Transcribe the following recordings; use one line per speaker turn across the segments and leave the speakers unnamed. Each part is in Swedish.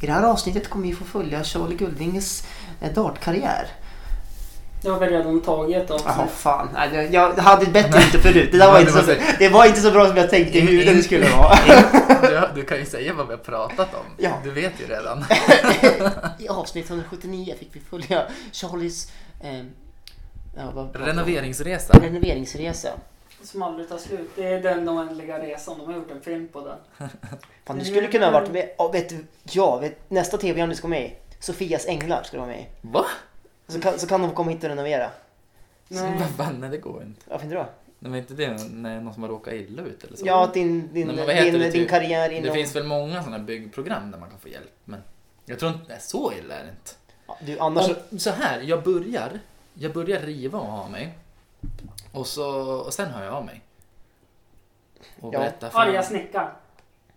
det här avsnittet kommer vi få följa Charlie Guldvinges eh, dartkarriär.
Det har väl redan tagit också.
Jaha, fan. Nej, det- Jag hade ett bättre inte förut. Det, där var
Ja,
inte
det
så,
var
det var inte så bra som jag tänkte i
In-
huvudet
in-
det skulle vara.
Du, du kan ju säga vad vi har pratat om.
Ja.
Du vet ju redan.
I avsnitt 179 fick vi följa Charlies eh, ja, vad-
Renoveringsresa.
renoveringsresa.
Som aldrig tar slut. Det är den oändliga resan. De har gjort en film på den.
Fan, du skulle kunna ha varit med. Ja, vet du, ja, vet, nästa tv-program du ska vara med i, Sofias änglar ska du vara med i.
Va?
Så kan, så kan de komma hit och renovera.
Nej.
Nej.
Va? Nej, det går inte.
Varför inte då?
Nej, men inte det när någon som har råkat illa ut eller så?
Ja, att din, din,
Nej, men vad heter
din,
det,
din
typ?
karriär inom...
Det finns väl många sådana byggprogram där man kan få hjälp. Men jag tror inte, nej, så illa är det inte.
Ja, Du, annars...
Om, så här, jag börjar, jag börjar riva och ha av mig. Och, så, och sen hör jag av mig. Och
Ja.
berättar
Arga snickaren.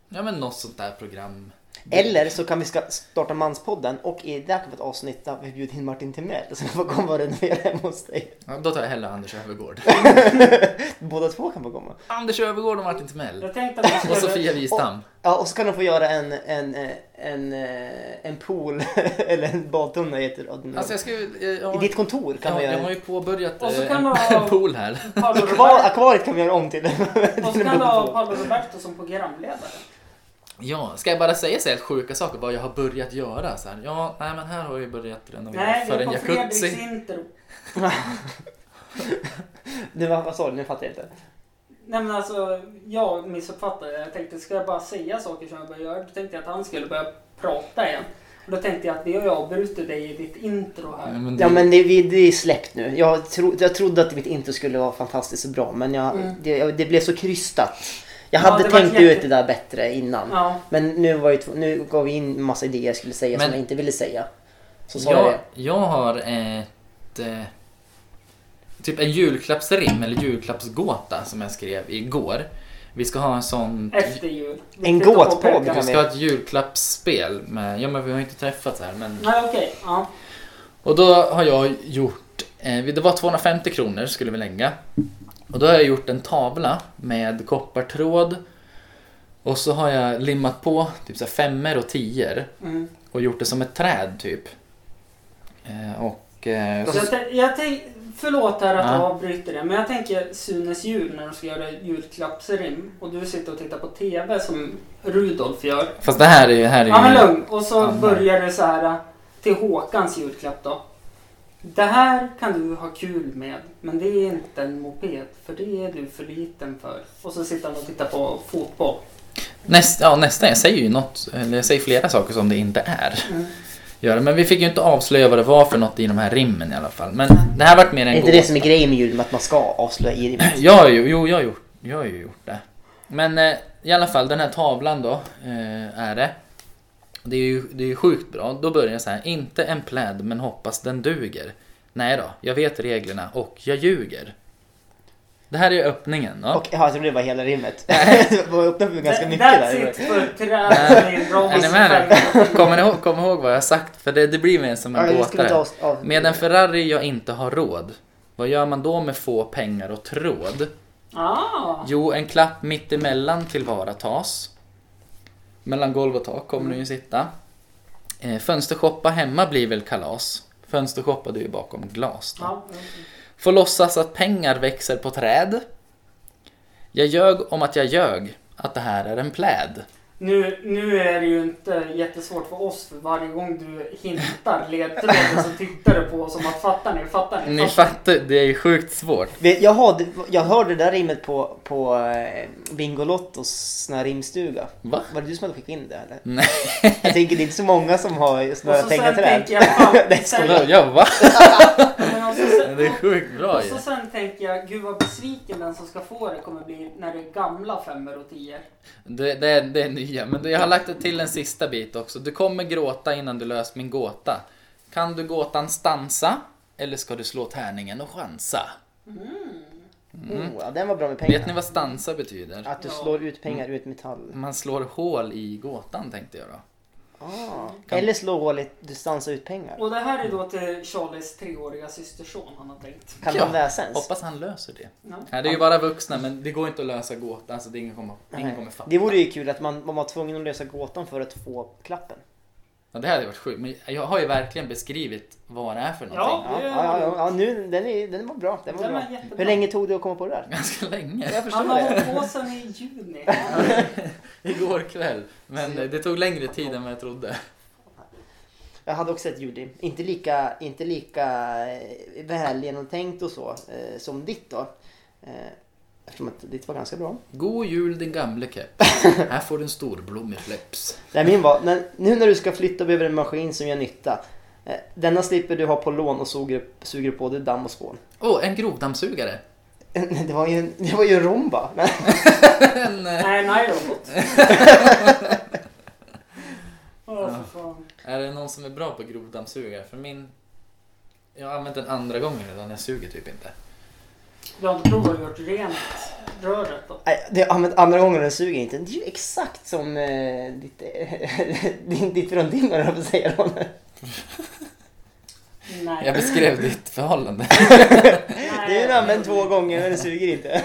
Ja men något sånt där program.
Eller så kan vi ska starta Manspodden och i det här kommer ett avsnitt där vi bjuder in Martin Timell så han får komma och renovera hemma hos dig.
Ja, då tar jag hellre Anders Övergård.
Båda två kan få komma.
Anders Övergård och Martin Timell.
Jag tänkte att
Och
jag skulle...
Sofia Wistam.
Ja, och så kan de få göra en, en, eh, en, eh, en pool eller en badtunna heter det.
Alltså jag ska ju... eh,
I
Jag,
ditt kontor kan
jag,
vi
jag
göra
har
en...
ju påbörjat
Och så
eh,
kan man
en
ha-
pool här.
Paolo
Kvar,
Roberto.
akvariet kan vi göra om till
Och så kan du ha Paolo Roberto som programledare.
Ja, ska jag bara säga så helt sjuka saker vad jag har börjat göra? Så här, ja, nej men här har jag ju börjat renovera
Nej, det
för
är
en
på Fredriks
jacuzzi.
intro.
Nu, vad vad sa du? Nu fattar jag inte.
Nej men alltså, jag missuppfattade det. Jag tänkte, ska jag bara säga saker som jag börjar göra? Då tänkte jag att han skulle börja prata igen. Och då tänkte jag att vi har ju avbrutit dig i ditt intro
Nej,
här.
men det-
Ja men det, vi- det är släppt nu. Jag, tro, jag trodde att mitt intro skulle vara fantastiskt och bra men jag,
Mm.
det, jag- det blev så krystat. Jag
Ja,
hade
det var
tänkt
jätte-
ut det där bättre innan.
Ja.
Men nu, var ju, tv- nu gav vi in massa idéer jag skulle säga som
Men-
jag inte ville säga. Så sa jag
jag,
det.
jag har ett... Eh, typ en julklappsrim eller julklappsgåta som jag skrev igår. Vi ska ha en sån...
Efter jul. Vi
En
tittar
gåt på
Pekka.
brukar
Vi ska ha ett julklappsspel med... Ja men vi har ju inte träffats här men...
Nej okej, ja.
Och då har jag gjort... Eh, det var 250 kronor skulle vi lägga. Och då har jag gjort en tavla med koppartråd. Och så har jag limmat på typ så här femmer och tior.
Mm.
Och gjort det som ett träd typ. Eh, och... Eh,
Så jag, tän- jag tänk, förlåt här att
Ja.
jag avbryter det, men jag tänker Sunes jul när de ska göra julklappsrim och du sitter och tittar på TV som Rudolf gör.
Fast det här är ju... Här är
Ja men
ju
lugn, och så
Ja, men-
börjar det så här till Håkans julklapp då. Det här kan du ha kul med, men det är inte en moped, för det är du för liten för. Och så sitter han och tittar på fotboll.
Näst, ja, nästan, jag säger ju något, eller jag säger flera saker som det inte är.
Mm.
Gör det, Men vi fick ju inte avslöja vad det var för något i de här rimmen i alla fall. Men det här vart mer
Är
en
inte det
gåta.
som är grejen med julen, att man ska avslöja i det?
Jag har ju, jo, jag har gjort, jag har ju gjort det. Men eh, i alla fall, den här tavlan då, eh, är det. Det är ju det är ju sjukt bra. Då börjar jag så här, inte en pläd men hoppas den duger. Nej då, jag vet reglerna och jag ljuger. Det här är öppningen då.
Och, ja, alltså det var hela rimmet. Det var öppnat för ganska mycket
That's
där.
it för träd, det är bra
Är ni med nu? Kommer ni ihåg, kom ihåg vad jag har sagt? För det, det blir mer som
Ja,
en
jag skulle
gåta.
ta oss av-
Med en Ferrari jag inte har råd. Vad gör man då med få pengar och tråd?
Ah,
Jo, en klapp mittemellan tillvaratas. Mellan golv och tak kommer den ju sitta. Eh, fönstershoppa hemma blir väl kalas. Fönstershoppa du är ju bakom glas. Då.
ja.
Får låtsas att pengar växer på träd. Jag ljög om att jag ljög att det här är en pläd.
Nu, nu är det ju inte jättesvårt för oss för varje gång du hintar ledtråden så tittar du på oss som att fattar ni, fattar ni?
Ni fattar, det är ju sjukt svårt.
Vet- Jag, hade, jag hörde det där rimmet på, på eh, Bingolottos sån här rimstuga.
Va?
Var det du som hade skickat in det eller?
Nej.
Jag tänker det är inte så många som har
Och
snöat
så sen
pengar till det här.
tänker jag, fan,
Nej,
sen,
skoja.
Ja, va?
men och så sen,
Det är sjukt bra
och
ju.
så sen tänker jag, gud vad besviken den som ska få det kommer bli när det är gamla femmer och tior.
Det, det, är, det är nya, men jag har lagt till en sista bit också. Du kommer gråta innan du löst min gåta. Kan du gåtan stansa? Eller ska du slå tärningen och chansa?
Mm, ja, den var bra med
Vet ni Mm.
pengar.
vad stansa betyder?
Att du
Ja.
slår ut pengar ur ett
Mm.
metall.
Man slår hål i gåtan tänkte jag då.
Ah.
Kan-
Eller slå hålet, du stansar ut pengar.
Och det här är då till Charlies treåriga systerson han har tänkt.
Kan
Ja.
de läsa ens?
Hoppas han löser det.
Ja.
Nej, det är ju bara vuxna, men det går inte att lösa gåtan. Alltså, det är ingen kommer, ingen kommer fatta.
Det vore ju kul att man, man var tvungen att lösa gåtan för att få klappen.
Ja, det hade varit sjukt. Men jag har ju verkligen beskrivit vad det är för någonting.
Ja.
Ja, ja, ja, ja nu, den, är, den var bra. Den var
Den var
bra.
jättebra.
Hur länge tog det att komma på det där?
Ganska länge.
Jag förstår
Han har
det.
hållit på sedan i juni.
Igår kväll. Men eh, det tog längre tid än vad jag trodde.
Jag hade också ett ljudrim. Inte lika, inte lika eh, väl genomtänkt och så eh, som ditt då. Eh, eftersom att ditt var ganska bra.
God jul din gamle kepp. Här får du en storblom i fläpps.
Nej, min var, men nu när du ska flytta behöver en maskin som gör nytta. Eh, denna slipper du ha på lån och suger upp, suger upp både damm och spån.
Åh, oh, en grovdammsugare.
Nej, Det var ju, en- det var ju en romba. Men,
En, eh,
Nej, nej robot. Åh, för fan.
är det någon som är bra på grovdammsugare? För min... Jag har använt den andra gången redan. Jag suger typ inte.
Du har inte provat att gjort rent röret då?
Nej, det, ja, men andra gången den suger inte. Det är ju exakt som eh, ditt, eh, din, ditt rondin, höll jag på att säga. Ronny.
Nej.
Jag beskrev ditt förhållande.
Det är ju använt två gånger men den suger inte.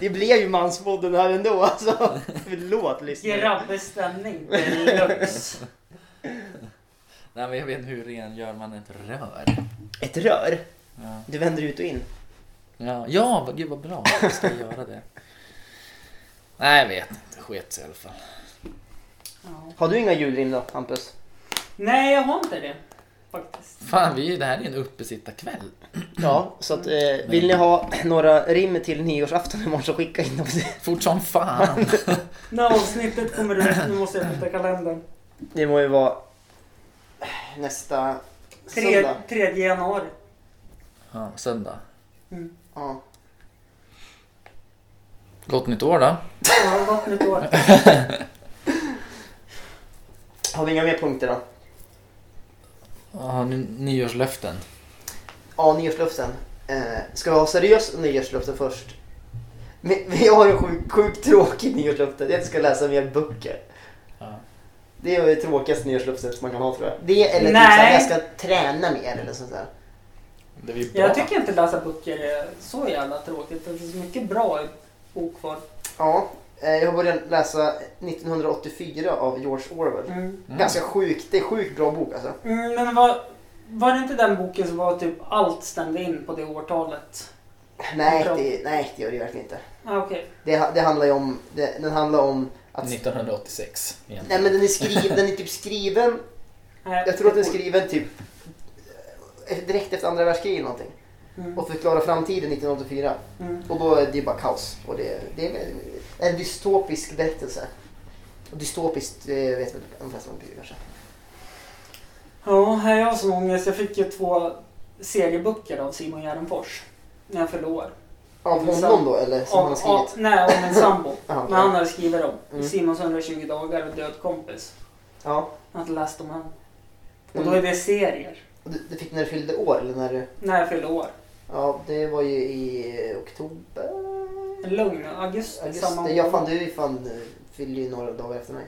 Det blev ju manspodden här ändå alltså. Förlåt lyssnare.
Grabbestämning deluxe.
Nej, men jag vet inte hur ren gör man ett rör.
Ett rör.
Ja,
Du vänder ut och in.
ja, ja vad- gud vad bra. Jag ska göra det. Nej, jag vet inte. Sket sig i alla fall.
Ja.
Har du inga julrim då Hampus?
Nej, jag har inte det. Faktiskt.
Fan, vi, är ju- det här är en uppesittarkväll.
Ja, så att eh, vill ni ha några rim till nyårsafton imorgon så skicka in dem.
Fort som fan.
När avsnittet kommer ut, nu måste jag flytta kalendern.
Det må ju vara nästa
Tre-
söndag.
3 januari.
Ja, söndag.
Mm.
Ja.
Gott nytt år då.
Ja, det har gått ett år.
Har vi inga mer punkter då?
Har ni nyårslöften?
Ja, nyårslöften. Eh, ska vi ha seriös nyårslöften först? Vi, vi har en sjukt sjuk tråkig nyårslöfte. Det är att jag ska läsa mer böcker.
Ja.
Det är det tråkigaste nyårslöftet man kan ha tror jag. Det eller typ
Nej.
såhär, jag ska träna mer eller sånt där.
Det är bra.
Jag tycker inte läsa böcker är så jävla tråkigt. Det finns mycket bra i bok kvar.
Ja, eh, jag har börjat läsa 1984 av George Orwell.
Mm.
Ganska sjukt, det är sjukt bra bok alltså.
Mm, men var, var det inte den boken som var typ allt stämde in på det årtalet?
Nej,
Bra.
det, nej, det gör det verkligen inte.
Ah, Okej.
Det, ha- det handlar ju om, det, den handlar om att...
1986. Igen.
Nej men den är skriven, den är typ skriven
Nej,
Jag tror att den är
det-
skriven typ eh, direkt efter andra världskriget eller någonting.
Mm.
Och förklarar framtiden 1984.
Mm.
Och då är det ju bara kaos. Och det, det är en dystopisk berättelse. Och dystopiskt eh, vet väl de flesta om det kanske.
Ja, här är jag som ångest. Jag fick ju två serieböcker av Simon Gärdenfors. När jag fyllde år.
Av
Mm,
honom då eller som
Av-
han har skrivit?
av- nej, av en sambo.
Jaha,
Men
ja.
han hade skrivit dem.
Mm.
Simons 120 dagar och Död kompis.
Ja.
Jag hade läst om honom. Och
Mm.
då är det serier.
Och du, du fick när du fyllde år eller när du...
När jag fyllde år.
Ja, det var ju i eh, oktober?
Lugn, augusti, samma år.
Augusti? Ja, fan du är ju fan, eh, fyllde ju några dagar efter mig.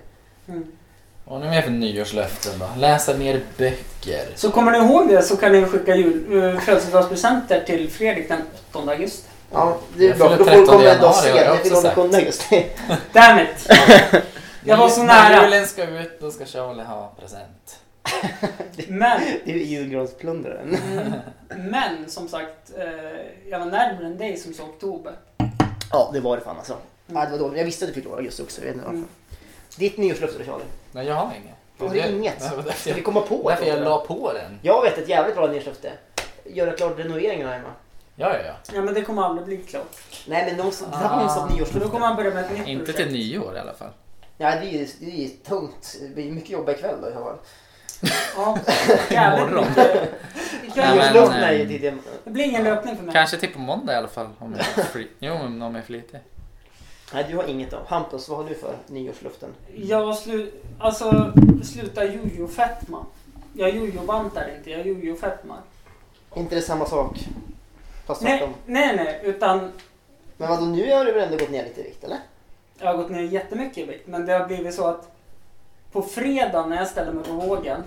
Mm.
Vad har ni mer för nyårslöften då? Läsa mer böcker.
Så kommer ni ihåg det så kan ni skicka jul, eh, födelsedagspresenter till Fredrik den 8 augusti.
Ja, det är
Jag
bra.
fyller
Då får du
13
komma en dag
januari, har
senare.
jag
Jag fyller
också
den 7 augusti.
Damn it! Jag var så nära.
När julen ska ut då ska Charlie ha present.
Men, mm,
Det är ju julgransplundraren.
men som sagt, eh, jag var närmare än dig som sa oktober.
Ja, det var det fan alltså. Ja, det var dåligt. Jag visste att du fyllde år i augusti också. Jag vet inte varför.
Mm.
Ditt nyårslöfte då Charlie?
Nej, jag har inget.
Har du inget?
Det var därför
Ska vi
jag,
komma på
därför
ett?
jag
åt
la på den.
det? Jag vet ett jävligt bra nyårslöfte. Göra klart renoveringarna hemma.
Ja, ja, ja.
Ja men det kommer aldrig bli klart.
Nej men de måste dans
Ah.
av
För då
nyårslöfte.
kommer han börja med ett nytt
Inte
projekt.
till nyår i alla fall.
Nej det är ju det är ju tungt. Det blir mycket jobb ikväll då i alla fall.
Ja, jävligt
Imorgon.
mycket. Ikväll-
Nej, men-
Nyårslöften är ju
eh,
ehm,
till det.
Det blir ingen löpning för mig.
Kanske till på måndag i alla fall. Om jag är fri. Jo, om någon är flitig.
Nej du har inget då. Hampus, vad har du för nyårslöften?
Jag slu... Alltså, sluta jojo-fetma. Jag jojo-bantar inte, jag jojo-fetmar.
Är inte det samma sak? Fast
Nej,
tvärtom.
nej, nej, utan
Men vadå nu har du väl ändå gått ner lite i vikt eller?
jag har gått ner jättemycket i vikt. Men det har blivit så att på fredag när jag ställer mig på vågen,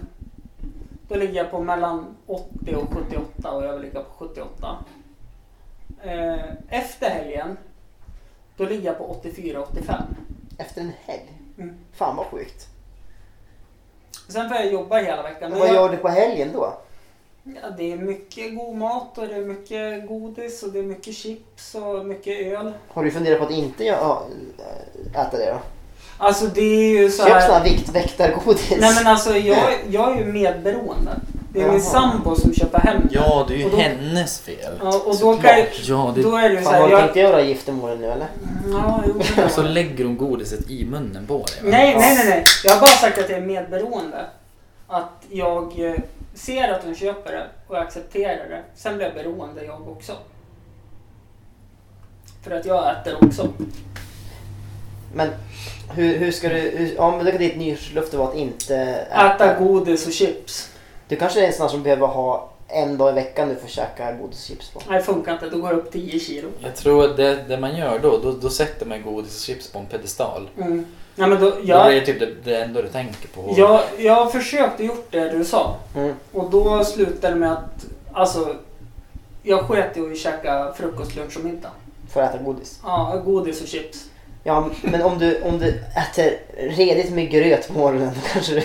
då ligger jag på mellan 80 och 78 och jag vill ligga på 78. Eh, efter helgen, då ligger jag på 84-85.
Efter en helg?
Mm.
Fan vad sjukt.
Sen får jag jobba hela veckan.
Men
Men
vad
jag,
gör du på helgen då?
ja, det är mycket god mat och det är mycket godis och det är mycket chips och mycket öl.
Har du funderat på att inte gö- ja, äh, äta det då?
Alltså det är ju så
Köp sådana
här...
här viktväktargodis.
Nej men alltså jag, jag är ju medberoende. Det är
Jaha.
min sambo som köper hem det.
Ja, det är ju
Och då-
hennes fel.
Ja, och då, kan, jag-
Ja, det...
då är det ju så
Fan, har
här...
du
Jag,
tänkt göra giftermålen nu eller?
ja, jo, det är
Och så
det.
lägger hon godiset i munnen på dig. va?
Nej, nej, nej, nej. Jag har bara sagt att jag är medberoende. Att jag eh, ser att hon köper det och jag accepterar det. Sen blir jag beroende jag också. För att jag äter också.
Men hur, hur ska du... Hur, ja men då kan ditt nyårslöfte vara att inte
Äta godis och chips.
Du kanske är en sån här som behöver ha en dag i veckan du får käka godischips på.
Nej, det funkar inte. Då går det upp 10 kilo.
Jag tror att det, det man gör då, då, då sätter man godis och chips på en pedestal.
Mm. Nej, men då,
Ja. Det
jag,
är typ det, det enda du tänker på.
jag, jag har försökt och gjort det du sa.
Mm.
Och då slutade det med att... Alltså, jag sket i att käka frukost, lunch och middag.
För att äta godis.
Ja, godis och chips.
Ja men om du, om du äter redigt med gröt på morgonen då kanske du...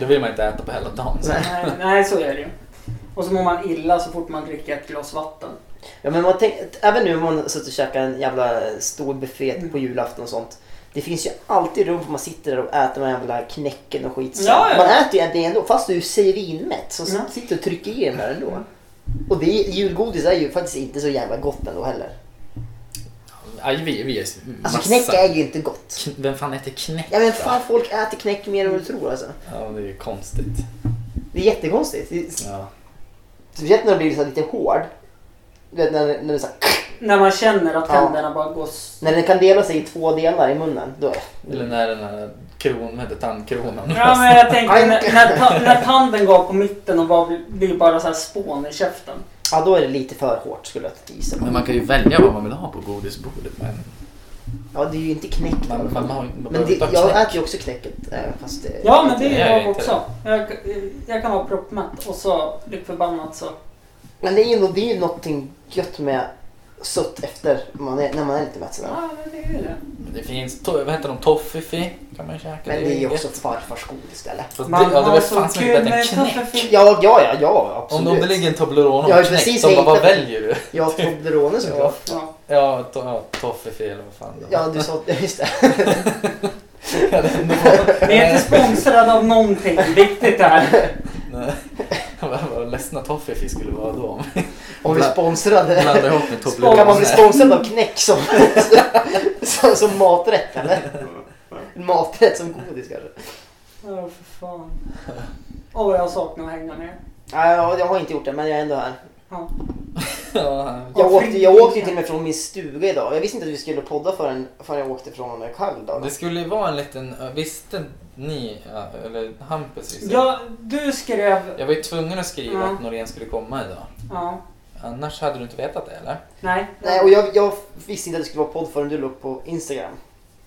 Då vill man inte äta på hela dagen. sen.
Nej, nej, så är det ju. Och så mår man illa så fort man dricker ett glas vatten.
Ja men man tänk, även nu om man har suttit och käkat en jävla stor buffé
Mm.
på julafton och sånt. Det finns ju alltid rum för man sitter där och äter de här jävla knäcken och skit. sen.
Ja, ja.
Man äter ju det ändå fast du är svinmätt så
Ja.
sitter du och trycker i den där ändå. Och det, julgodis är ju faktiskt inte så jävla gott ändå heller.
Aj, vi, vi är
Alltså
massa.
knäck är ju inte gott.
Kn- Vem fan äter knäck?
Ja men fan
då?
folk äter knäck mer än vad du tror alltså.
Ja, det är ju konstigt.
Det är jättekonstigt. Det är-
Ja.
Speciellt när den blir så här lite hård. Du vet när, när, den så här,
När man känner att
Ja.
tänderna bara går... s-
när den kan dela sig i två delar i munnen. Då,
Eller när den här kron, vad heter tandkronan?
Ja, men jag tänker när, när, ta, när tanden går på mitten och bara blir- blir bara så här spån i käften.
ja, då är det lite för hårt skulle jag gissa.
Men man kan ju välja vad man vill ha på godisbordet. Men
Ja, det är ju inte knäck. i
man,
alla
man,
fall.
man, har ju- man
men
behöver
det,
inte ha
jag
knäck.
äter ju också knäcket. eh, Fast det,
Ja, men det
Nej,
är
jag
jag
är inte
också. Jag, jag kan vara proppmätt och så lik förbannat så...
men det är ju nå- det är ju någonting gött med sött efter man är, när man är lite mätt. sådär.
Ja, men det är ju det.
Men Det finns, to- vad heter de, toffifi kan man ju käka.
Men det är ju också
gött.
farfars godis eller?
Fast
Man
det, ja, det var
har så
fan så mycket
kul
bättre
med
än knäck.
kaffefilter.
Ja, ja, ja, ja
Om
absolut.
de lägger en Toblerone
Jag
och
har
en knäck,
precis
de bara, vad
hittat-
väljer du?
Ja, Toblerone som jag.
Ja.
Ja.
Ja, to- ja, toffifi eller vad fan det
Ja, du sa... Just det.
Ja, det är nog-
Vi är inte sponsrade av någonting viktigt här.
Nej. Vad vad ledsna toffifi skulle vara då om vi
Om vi
Bla-
sponsrade.
blandar ihop med Toblerone.
Kan man bli sponsrad av knäck som, som, som maträtt eller? Maträtt som godis kanske?
Åh, för fan. Åh, jag saknar att hänga med.
Nej, jag, jag har inte gjort det men jag är ändå här.
Ja.
Ja,
Jag
Varför
åkte, jag
inte?
åkte ju till och med från min stuga idag. Jag visste inte att vi skulle podda förrän, förrän jag åkte från mig själv idag.
Det skulle ju vara en liten, visste ni, ja, eller Hampus visste
Ja, du skrev...
Jag var ju tvungen att skriva
Ja.
att Norén skulle komma idag.
Ja.
Annars hade du inte vetat det eller?
Nej.
Nej, och jag, jag visste inte att det skulle vara podd förrän du la upp på Instagram.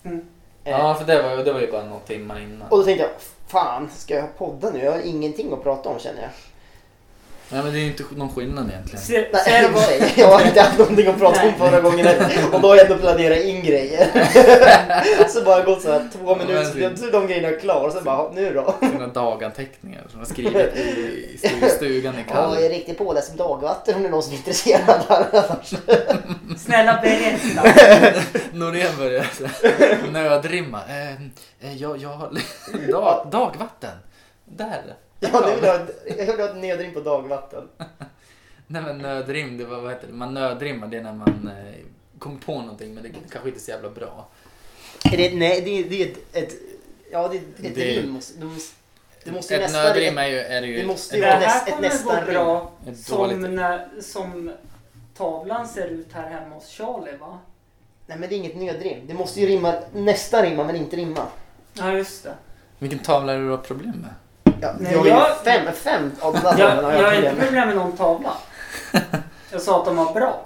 Mm.
Eh,
Ja, för det var, ju- det var ju bara några timmar innan.
Och då tänkte jag, fan ska jag podda nu? Jag har ingenting att prata om känner jag.
Nej men det är ju inte någon skillnad egentligen.
Se,
Nej,
ser du
i och
vad-
för sig. jag har inte haft någonting att prata om
Nej.
förra gången heller. Och då har jag ändå planerat in grejer. så bara gått så här två minuter, så blev- så är de grejerna klara. Och sen bara, "Ja, nu då?
Sina daganteckningar som jag skrivit i, i stugan i
Ja, jag är
Kall.
riktigt påläst om dagvatten om det är någon som är intresserad här.
Snälla berätta.
Norén börjar så här nödrimma. Eh, eh, jag, jag har... Dag, dagvatten. Där.
Ja, nu vill jag, ha ett- jag vill ha ett nödring på dagvatten.
Nej men nödrim, det var vad heter det? Man nödrimmar det är när man eh, kommer på någonting men det kanske inte är så jävla bra.
Är det, nej, det, är- det är ett, ett... Ja, det är ett
Det är-
rim. måste- Det måste, det måste ju
ett
nästan...
nödrim är ju, är ju
det måste ju
Det
ett,
vara
ett,
näst-
här
ett
kommer
nästa
gå bra
ett dåligt...
som, när, som tavlan ser ut här hemma hos Charlie va?
Nej, men det är inget nödrim. Det måste ju rimma, nästan rimma, men inte rimma.
Ja just det.
Vilken tavla är det du har problem med?
Ja,
Nej,
jag har ju
jag-
fem, fem av de där
Jag,
tavlorna har
jag
jag
har inte
problem med.
problem med någon tavla. Jag sa att de var bra.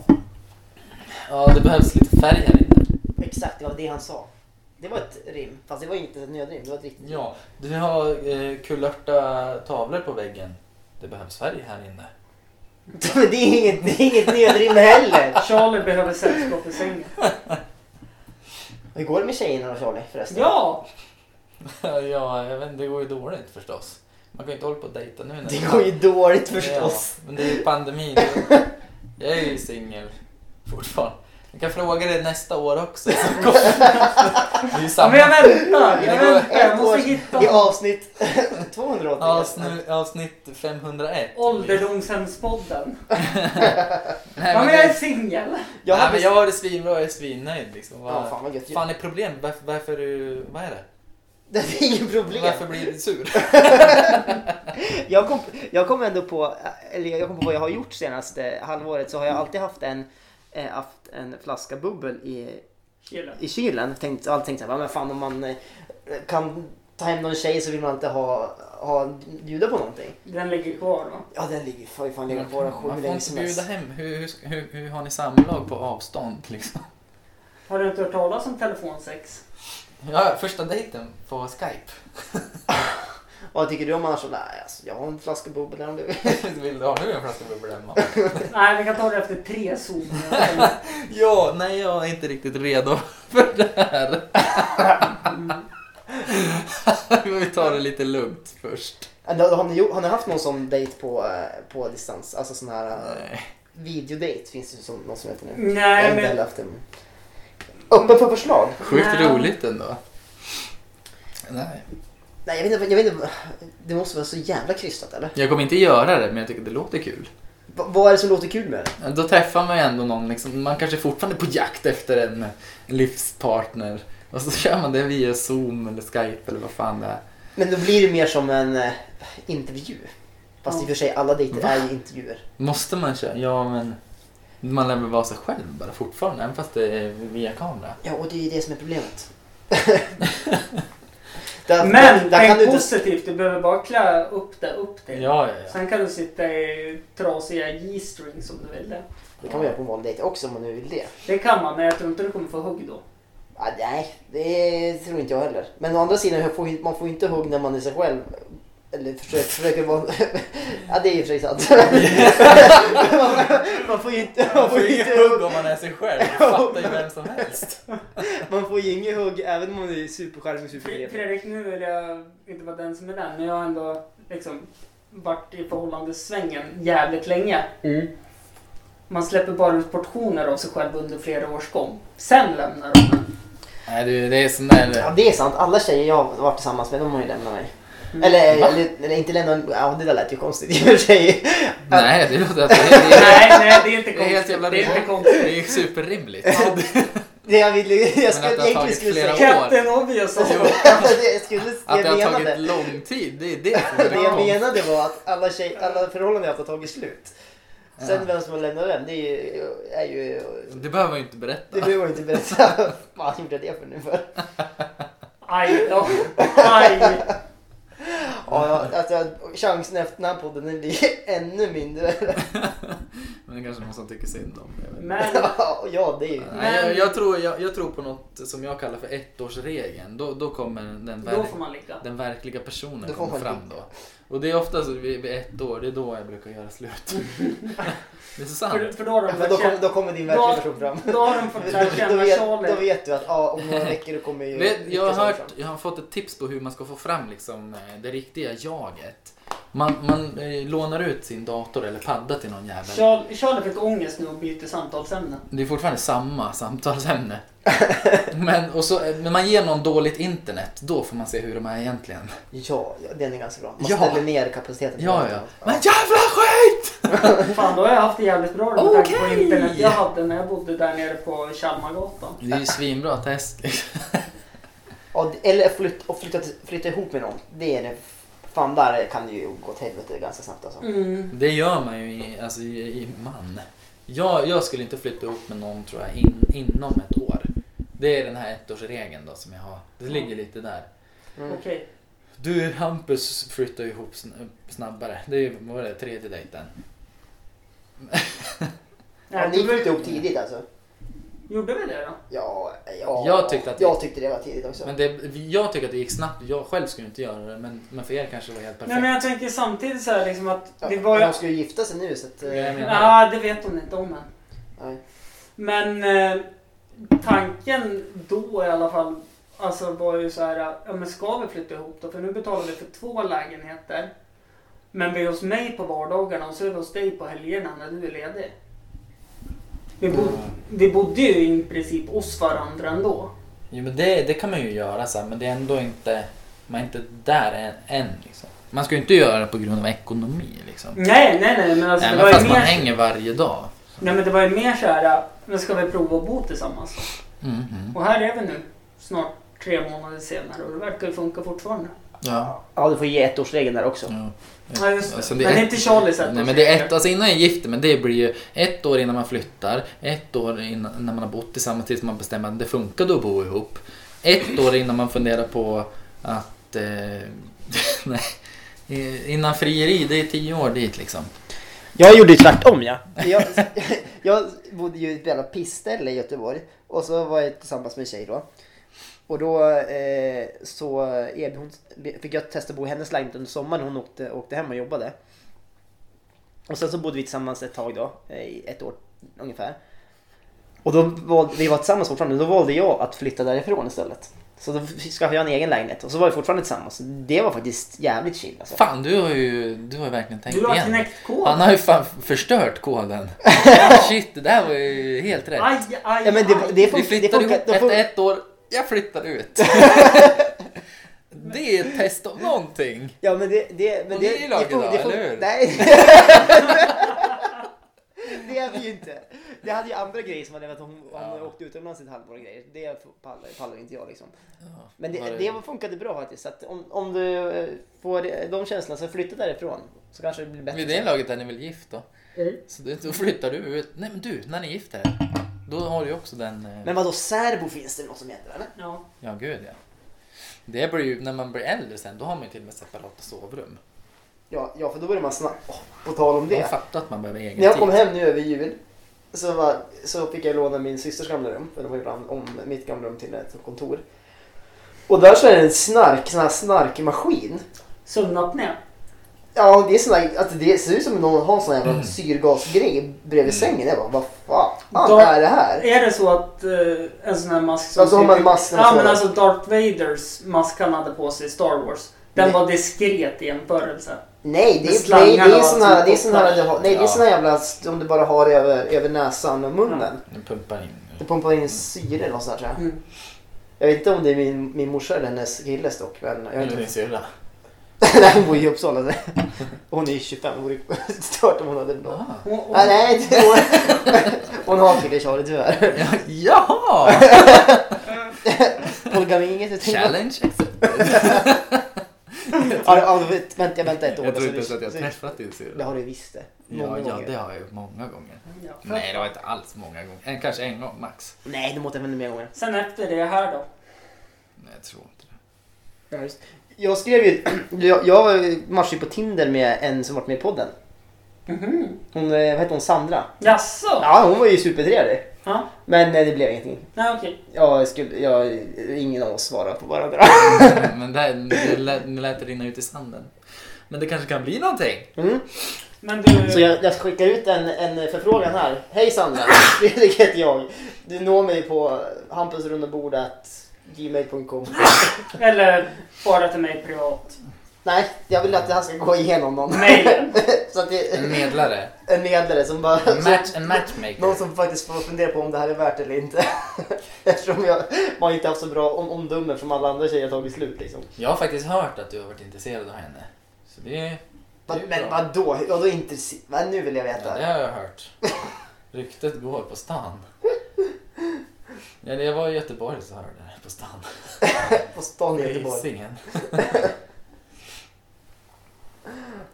Ja, det behövs lite färg här inne.
Exakt, det var det han sa. Det var ett rim, fast det var inte ett nödrim. Det var ett riktigt rim.
Ja, du har eh, kulörta tavlor på väggen. Det behövs färg här inne.
Men det är inget, det är inget nödrim heller.
Charlie behöver sällskap i sängen.
Hur går det med tjejerna då Charlie förresten?
Ja!
ja, jag vet inte, det går ju dåligt förstås. Man kan ju inte hålla på och dejta nu. När
Det går ju dåligt förstås.
Ja, men det är ju pandemi. Jag är ju singel fortfarande. Jag kan fråga dig nästa år också. Det är ju
Ja,
samma
men jag väntar!
Det
Jag
går
väntar! Jag
Ett år
måste hitta
i avsnitt 280.
avsnitt, avsnitt 501.
ålderdomshemspodden.
Nej,
Ja,
men
men jag är
det,
singel.
Jag
nej,
hade
men jag har det svinbra och jag är svinnöjd. Liksom. Vad,
Ja, fan vad gött.
fan är problemet? Varför, varför är du... Vad är det?
Det är inget problem.
Varför blir du sur?
Jag kom, jag kom ändå på, eller jag kom på vad jag har gjort senaste halvåret så har jag alltid haft en, eh, haft en flaska bubbel i,
Killen.
i kylen. Tänkt, alltid tänkt såhär, men fan om man eh, kan ta hem någon tjej så vill man inte ha, ha bjuda på någonting.
Den ligger kvar då.
Ja den ligger ju fan, fan ligger kvar sju hur
Man får
länge
inte
som
bjuda
helst.
hem. Hur, hur, hur, hur har ni samlag på avstånd? Liksom?
Har du inte hört talas om telefonsex?
Ja, första dejten på Skype.
Vad tycker du om annars? Nej alltså, jag har en flaska bubbel här om du vill.
Vill du ha nu en flaska bubbel hemma?
Nej, vi kan ta det efter tre zoner.
Ja, nej jag är inte riktigt redo för det här. Vi tar det lite lugnt först.
Ja, då- Har ni, gjort- har ni haft någon sån dejt på, eh, på distans? Alltså sån här eh,
Nej.
videodejt finns det ju som, någon som heter nu. jag har
Nej,
inte
men
heller haft en. Öppen för förslag.
Sjukt
Nej.
roligt ändå. Nej.
Nej, jag vet, inte, jag vet inte. Det måste vara så jävla krystat eller?
Jag kommer inte göra det men jag tycker det låter kul.
V vad är det som låter kul med det?
Då träffar man ju ändå någon, liksom, man kanske fortfarande är på jakt efter en livspartner. Och så kör man det via zoom eller skype eller vad fan det är.
Men då blir det mer som en eh, intervju. Fast i och för sig, alla dejter
Va?
är ju intervjuer.
Måste man köra? Ja men. Man lär väl vara sig själv bara fortfarande även fast det är via kamera.
Ja, och det är ju det som är problemet. Där-
men
där kan du
tänk
inte...
positivt. Du behöver bara klä upp det upp
Ja,
dig.
ja, ja.
Sen kan du sitta i trasiga G-strings om du vill det.
Det kan man göra på en vanlig dejt också om man nu vill det.
Det kan man, men jag tror inte du kommer få hugg då.
Ah, nej, det tror inte jag heller. Men å andra sidan, jag får, ju- man får ju inte hugg när man är sig själv. Eller försöker, försöker vara... ja, det är i och för sig sant. man, man får ju inte...
Man får ju inget hugg om man är sig själv. Man fattar ju vem som helst.
Man får ju inget hugg även om man är superskärmig och
Fre-
supertrevlig.
Fredrik, nu vill jag inte vara den som är den, men jag har ändå liksom varit i förhållandesvängen jävligt länge. Man släpper bara ut portioner av sig själv under flera års gång. Sen lämnar de en.
Nej du, det är sån där...
Ja, det är sant. Alla tjejer jag har varit tillsammans med, de har ju lämnat mig.
Mm.
Eller, eller, eller inte lämnat... Ja, det där lät ju konstigt i och för sig.
Nej, det låter... Det är, det är,
Nej, nej, det är inte
det är
konstigt.
helt
Det
jävla
är inte
rimligt.
konstigt.
Det är superrimligt.
Det jag ville... Jag
att det
skulle,
har
egentligen
tagit
skulle
flera
säga...
Captain Obvious.
Jo,
Det jag skulle...
Att
Jag
det har
menade...
tagit lång tid, det är det som
Det jag
är
menade var att alla, tjej, alla förhållanden jag haft har tagit slut. Sen
Ja.
vem som har lämnat vem, det är ju... Är ju
Det behöver man ju inte
det
berätta.
behöver jag inte berätta. Vad gjorde jag det för nu för?
Aj då. Aj.
Ja, jag- alltså, chansen efter den här podden den blir ännu mindre.
Men det kanske är någon som tycker synd om. jag vet inte.
Men
ja, det är ju...
Nej, jag, jag, tror, jag, jag tror på något som jag kallar för ettårsregeln. Då, då kommer den,
då
verk,
får man ligga.
den verkliga personen
Då får
komma
man
fram då. Och det är oftast vid, vid ett år, det är då jag brukar göra slut. Det är så sant.
För, för då har de
Men då,
fått
kom,
känna-
då kommer din
Då-
verkliga person fram.
då har de fått lära
Då
känna
vet, då
Charlie.
vet du att ja, om några veckor då kommer ju...
Vet, jag,
Viktor
har
fram.
hört, jag har fått ett tips på hur man ska få fram liksom, eh, det riktiga jaget. Man, man eh, lånar ut sin dator eller padda till någon jävel.
Charlie, Charlie fick ångest nu och bytte samtalsämne.
Det är fortfarande samma samtalsämne. Men, och så, eh, men man ger någon dåligt internet, då får man se hur de är egentligen.
Ja, ja, den är ganska bra. Man
Ja.
ställer ner kapaciteten. på
Ja, ja.
datorn.
Men jävla skit!
Fan, då har jag haft det jävligt bra med tanke på
Okej.
internet jag hade när jag bodde där nere på Chalmargatan.
Det är ju svinbra test.
Ja, det- eller flytt, och flytta, flytta ihop med någon. Det är det. Fan, där kan det ju gå åt helvete ganska snabbt alltså.
Mm.
Det gör man ju i, alltså, i, i man. Jag, jag skulle inte flytta ihop med någon tror jag in, inom ett år. Det är den här ettårsregeln då som jag har. Det ligger lite där.
Mm.
Okej.
Du Hampus flyttar ju ihop sn- snabbare. Det är ju vad var det, tredje dejten.
Ja,
Nej,
ni
du-
flyttade ihop tidigt alltså?
Gjorde vi det då?
Ja, ja,
Jag tyckte att-
jag tyckte det var tidigt också.
Men det, jag tycker att det gick snabbt. Jag själv skulle inte göra det men, men för er kanske det var helt perfekt.
Nej men jag tänker samtidigt så här liksom att
ja,
det var ju...
De skulle ju gifta sig nu så att... eh,
Ja, jag menar-
Ja, det vet hon inte om än.
nej.
Men eh, tanken då i alla fall Alltså var ju så här, ja men ska vi flytta ihop då? För nu betalar vi för två lägenheter. Men vi är hos mig på vardagarna och så är vi hos dig på helgerna när du är ledig. Vi, bo-
Mm.
vi bodde ju i princip hos varandra ändå.
Jo, men det, det kan man ju göra så här, men det är ändå inte... Man är inte där än. än liksom. Man ska ju inte göra det på grund av ekonomi liksom.
Nej, nej, nej. Men Mm. alltså, det,
Även
var
fast
ju
man
mer,
hänger varje dag.
nej men det var ju mer så här, eh, men ska vi prova att bo tillsammans?
Mm, mm.
Och här är vi nu, snart tre månader senare och det verkar ju funka fortfarande.
Ja.
Ja, du får ge ettårsregeln där också.
ja.
Ja, just
Alltså,
det. Men det är inte Charlies ett
Nej
år
men det är
säkert.
ett, alltså innan jag gifter mig, det blir ju ett år innan man flyttar, ett år innan när man har bott tillsammans tills man bestämmer att det funkar att bo ihop. Ett år innan man funderar på att... Eh, nej. Eh, Innan frieri, det är tio år dit liksom.
Jag gjorde ju tvärtom ja.
jag, jag bodde ju i ett jävla pissställe i Göteborg och så var jag tillsammans med en tjej då. Och då eh, så erbjöd hon, fick jag testa att bo i hennes lägenhet under sommaren hon åkte, åkte hem och jobbade. Och sen så bodde vi tillsammans ett tag då, eh, i ett år ungefär. Och då valde, vi var tillsammans fortfarande, då valde jag att flytta därifrån istället. Så då skaffade jag en egen lägenhet och så var vi fortfarande tillsammans. Det var faktiskt jävligt chill alltså.
Fan, du har ju, du har ju verkligen tänkt
Du har
igen.
knäckt koden.
Han har ju fan förstört koden. Shit, det där var ju helt rätt.
Aj, aj,
Ja, men det,
aj.
det,
Vi
funkar, det
flyttar
funkar,
ihop
det
efter
funkar,
ett år. Jag flyttar ut. Det är ett test av någonting.
Ja men det... det, men
Och
det,
ni är i lag
fun-
idag,
fun-
eller hur?
Nej! det är vi ju inte. Det hade ju andra grejer som hade varit att hon, hon
Ja.
åkte utomlands ett halvår och grejer. Det pallar, pallar inte jag liksom.
Ja,
Men
var
det, det funkade bra faktiskt. Så att om, om du eh, får eh, de känslorna så flytta därifrån. Så kanske det blir bättre.
Vid det laget är ni väl gift då? Så det, då flyttar du ut. Nej men du, när ni gifter er. Då har du ju också den... eh,
Men vadå serbo finns det något som heter eller?
Ja.
Ja gud ja. Det blir ju, när man blir äldre sen, då har man ju till och med separata sovrum.
Ja, ja för då börjar man snabbt. Oh, på tal om
Man
det.
fattar att man behöver egen
När jag kom
tid.
hem nu över jul så, var, så fick jag låna min systers gamla rum. För de har gjort om- om mitt gamla rum till ett kontor. Och där så är det en snark, sån här snarkmaskin.
Sömnapné.
Ja, det är sån där, alltså det ser ut som någon har en sån jävla syrgasgrej bredvid sängen. Jag bara, vad fan
Då-
är det här?
Är det så att eh, en sån här mask som...
Alltså, har man masken
Ja
så-
men alltså Darth Vaders mask han hade på sig i Star Wars. Den
Nej.
var diskret i jämförelse.
Nej, det
Med
är, nej, det är
slangar och
sån
allt
här, det är
som
sån här,
poppar.
du har- nej, det är
Ja.
sån här jävla som du bara har över, över näsan och munnen.
Nu pumpar in.
Det pumpar in syre eller något sånt där, tror jag.
Mm.
Jag vet inte om det är min, min morsa eller hennes killes dock. Men jag har inte
Eller din syrra.
Nej, hon bor ju i Uppsala. Hon är ju 25, det vore stört om hon hade någon.
Ah.
Och, och,
Nej, nej, det går. Hon har kille Charlie tyvärr.
Ja, Jaha!
Polygami inget. jag tänker-
Challenge accepted.
Ja, ja, vet- vänta, jag väntar ett år.
Jag tror inte ens
så
att jag
så-
har träffat din
Det
syrra.
har du visst det.
Ja,
Många
ja,
gånger.
det har jag gjort många gånger.
Ja, för-
Nej, det var inte alls många gånger. En, kanske en gång max.
Nej, du måste använda mer gånger.
Sen efter det här då.
Nej, jag tror inte det.
Ja, just. Jag skrev ju, jag, jag matchade ju på Tinder med en som varit med i podden.
Mhm.
Hon, eh, vad hette hon, Sandra?
Jaså?
Ja, hon var ju supertrevlig.
Ja.
Men eh, det blev ingenting.
Nej okej.
Jag skulle, jag, ingen av oss svarade på varandra.
Men där, nu lät, nu lät det rinna ut i sanden. Men det kanske kan bli någonting.
Mm.
Men du...
Så jag, jag skickar ut en, en förfrågan här. Hej Sandra, Fredrik heter jag. Du når mig på hampusrundabordat.gmail.com
Eller bara till mig privat.
Nej, jag vill att det här ska gå igenom någon.
Mejlen.
Så att det
En medlare.
en medlare som bara...
En,
Så,
match, en matchmaker.
någon som faktiskt får fundera på om det här är värt det eller inte. Eftersom jag man har inte haft så bra om, omdöme från alla andra tjejer har tagit slut liksom.
Jag har faktiskt hört att du har varit intresserad av henne. Så det, det är
Men,
ju
men
bra.
vadå? Vadå intresse... Vad nu vill jag
Ja,
veta.
det har jag hört. Ryktet går på stan. Ja, jag var i Göteborg så hörde jag det på stan.
På stan i Göteborg.
Hisingen.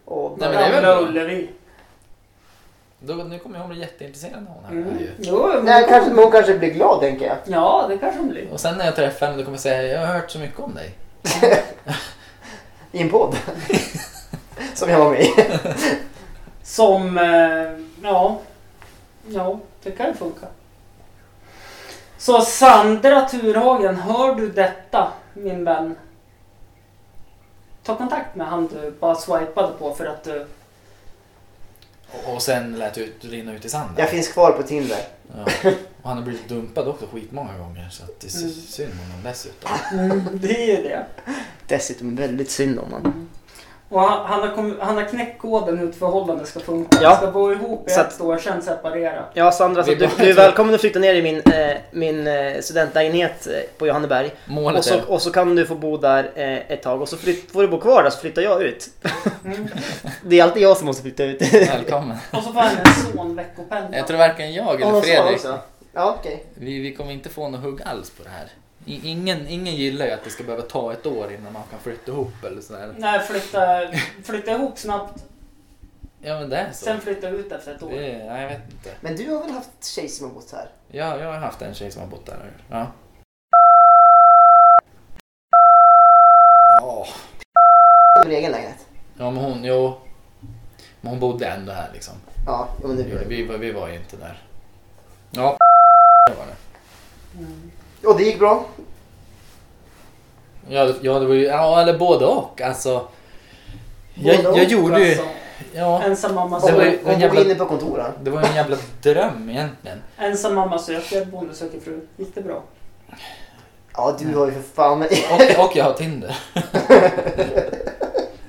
Åh,
Nej, men det är väl
Gamla
bra.
Ullevi.
Då, nu kommer jag bli jätteintresserad av hon här.
Mm.
ju.
Jo, men-
Nej, kanske, men hon kanske blir glad tänker jag.
Ja, det kanske hon blir.
Och sen när jag träffar henne då kommer jag säga jag har hört så mycket om dig.
I en podd. Som jag var med i.
Som... Eh, ja. Ja, det kan ju funka. Så Sandra Thurhagen, hör du detta min vän? Ta kontakt med han du bara swipade på för att du
Och, och sen lät ut rinna ut i sanden.
Jag finns kvar på Tinder.
Ja. Och han har blivit dumpad också skitmånga gånger så att det är mm. synd om honom dessutom.
Det är ju det.
Dessutom väldigt synd om honom.
Och han, han, har kommit, han har knäckt koden hur ett förhållande ska funka.
Ja.
Ska bo ihop i
Så
ett
att-
år, sen separera.
Ja Sandra, så
Vi
du,
bara-
du är välkommen att flytta ner i min, eh, min eh, studentlägenhet eh, på Johanneberg.
Målet
Och så,
är-
och så kan du få bo där eh, ett tag och så flytt, får du bo kvar där så flyttar jag ut. det är alltid jag som måste flytta ut.
Välkommen.
Och så får han en son veckopenna.
Jag tror varken jag eller
Ja, så
Fredrik,
också. Ja okej.
vi, vi kommer inte få något hugg alls på det här. I- Ingen, ingen gillar ju att det ska behöva ta ett år innan man kan flytta ihop eller sådär.
Nej, flytta, flytta ihop snabbt,
Ja men det är så.
sen flytta ut efter ett år.
Det, är- ja, jag vet inte.
Men du har väl haft tjej som har bott här?
Ja, jag har haft en tjej som har bott där. Ja. Ja,
I din egen lägenhet?
ja men hon, jo. Men hon bodde ändå här liksom.
Ja, jo, men det
Vi,
blir
vi, var- vi var ju inte där. Ja, det var det.
Mm.
det. Och det gick bra?
Ja, ja, det var ju, ja eller både och alltså.
Både
Jag, jag
och,
gjorde ju,
Alltså,
ja,
ensam mamma
Alltså, Det var ju-
söker,
Om hon
jävla-
går inne på kontoret?
det var ju en jävla dröm egentligen.
ensam mamma söker, bonde söker fru. Gick det bra?
Ja, du har ju för fan...
Och, och jag har Tinder.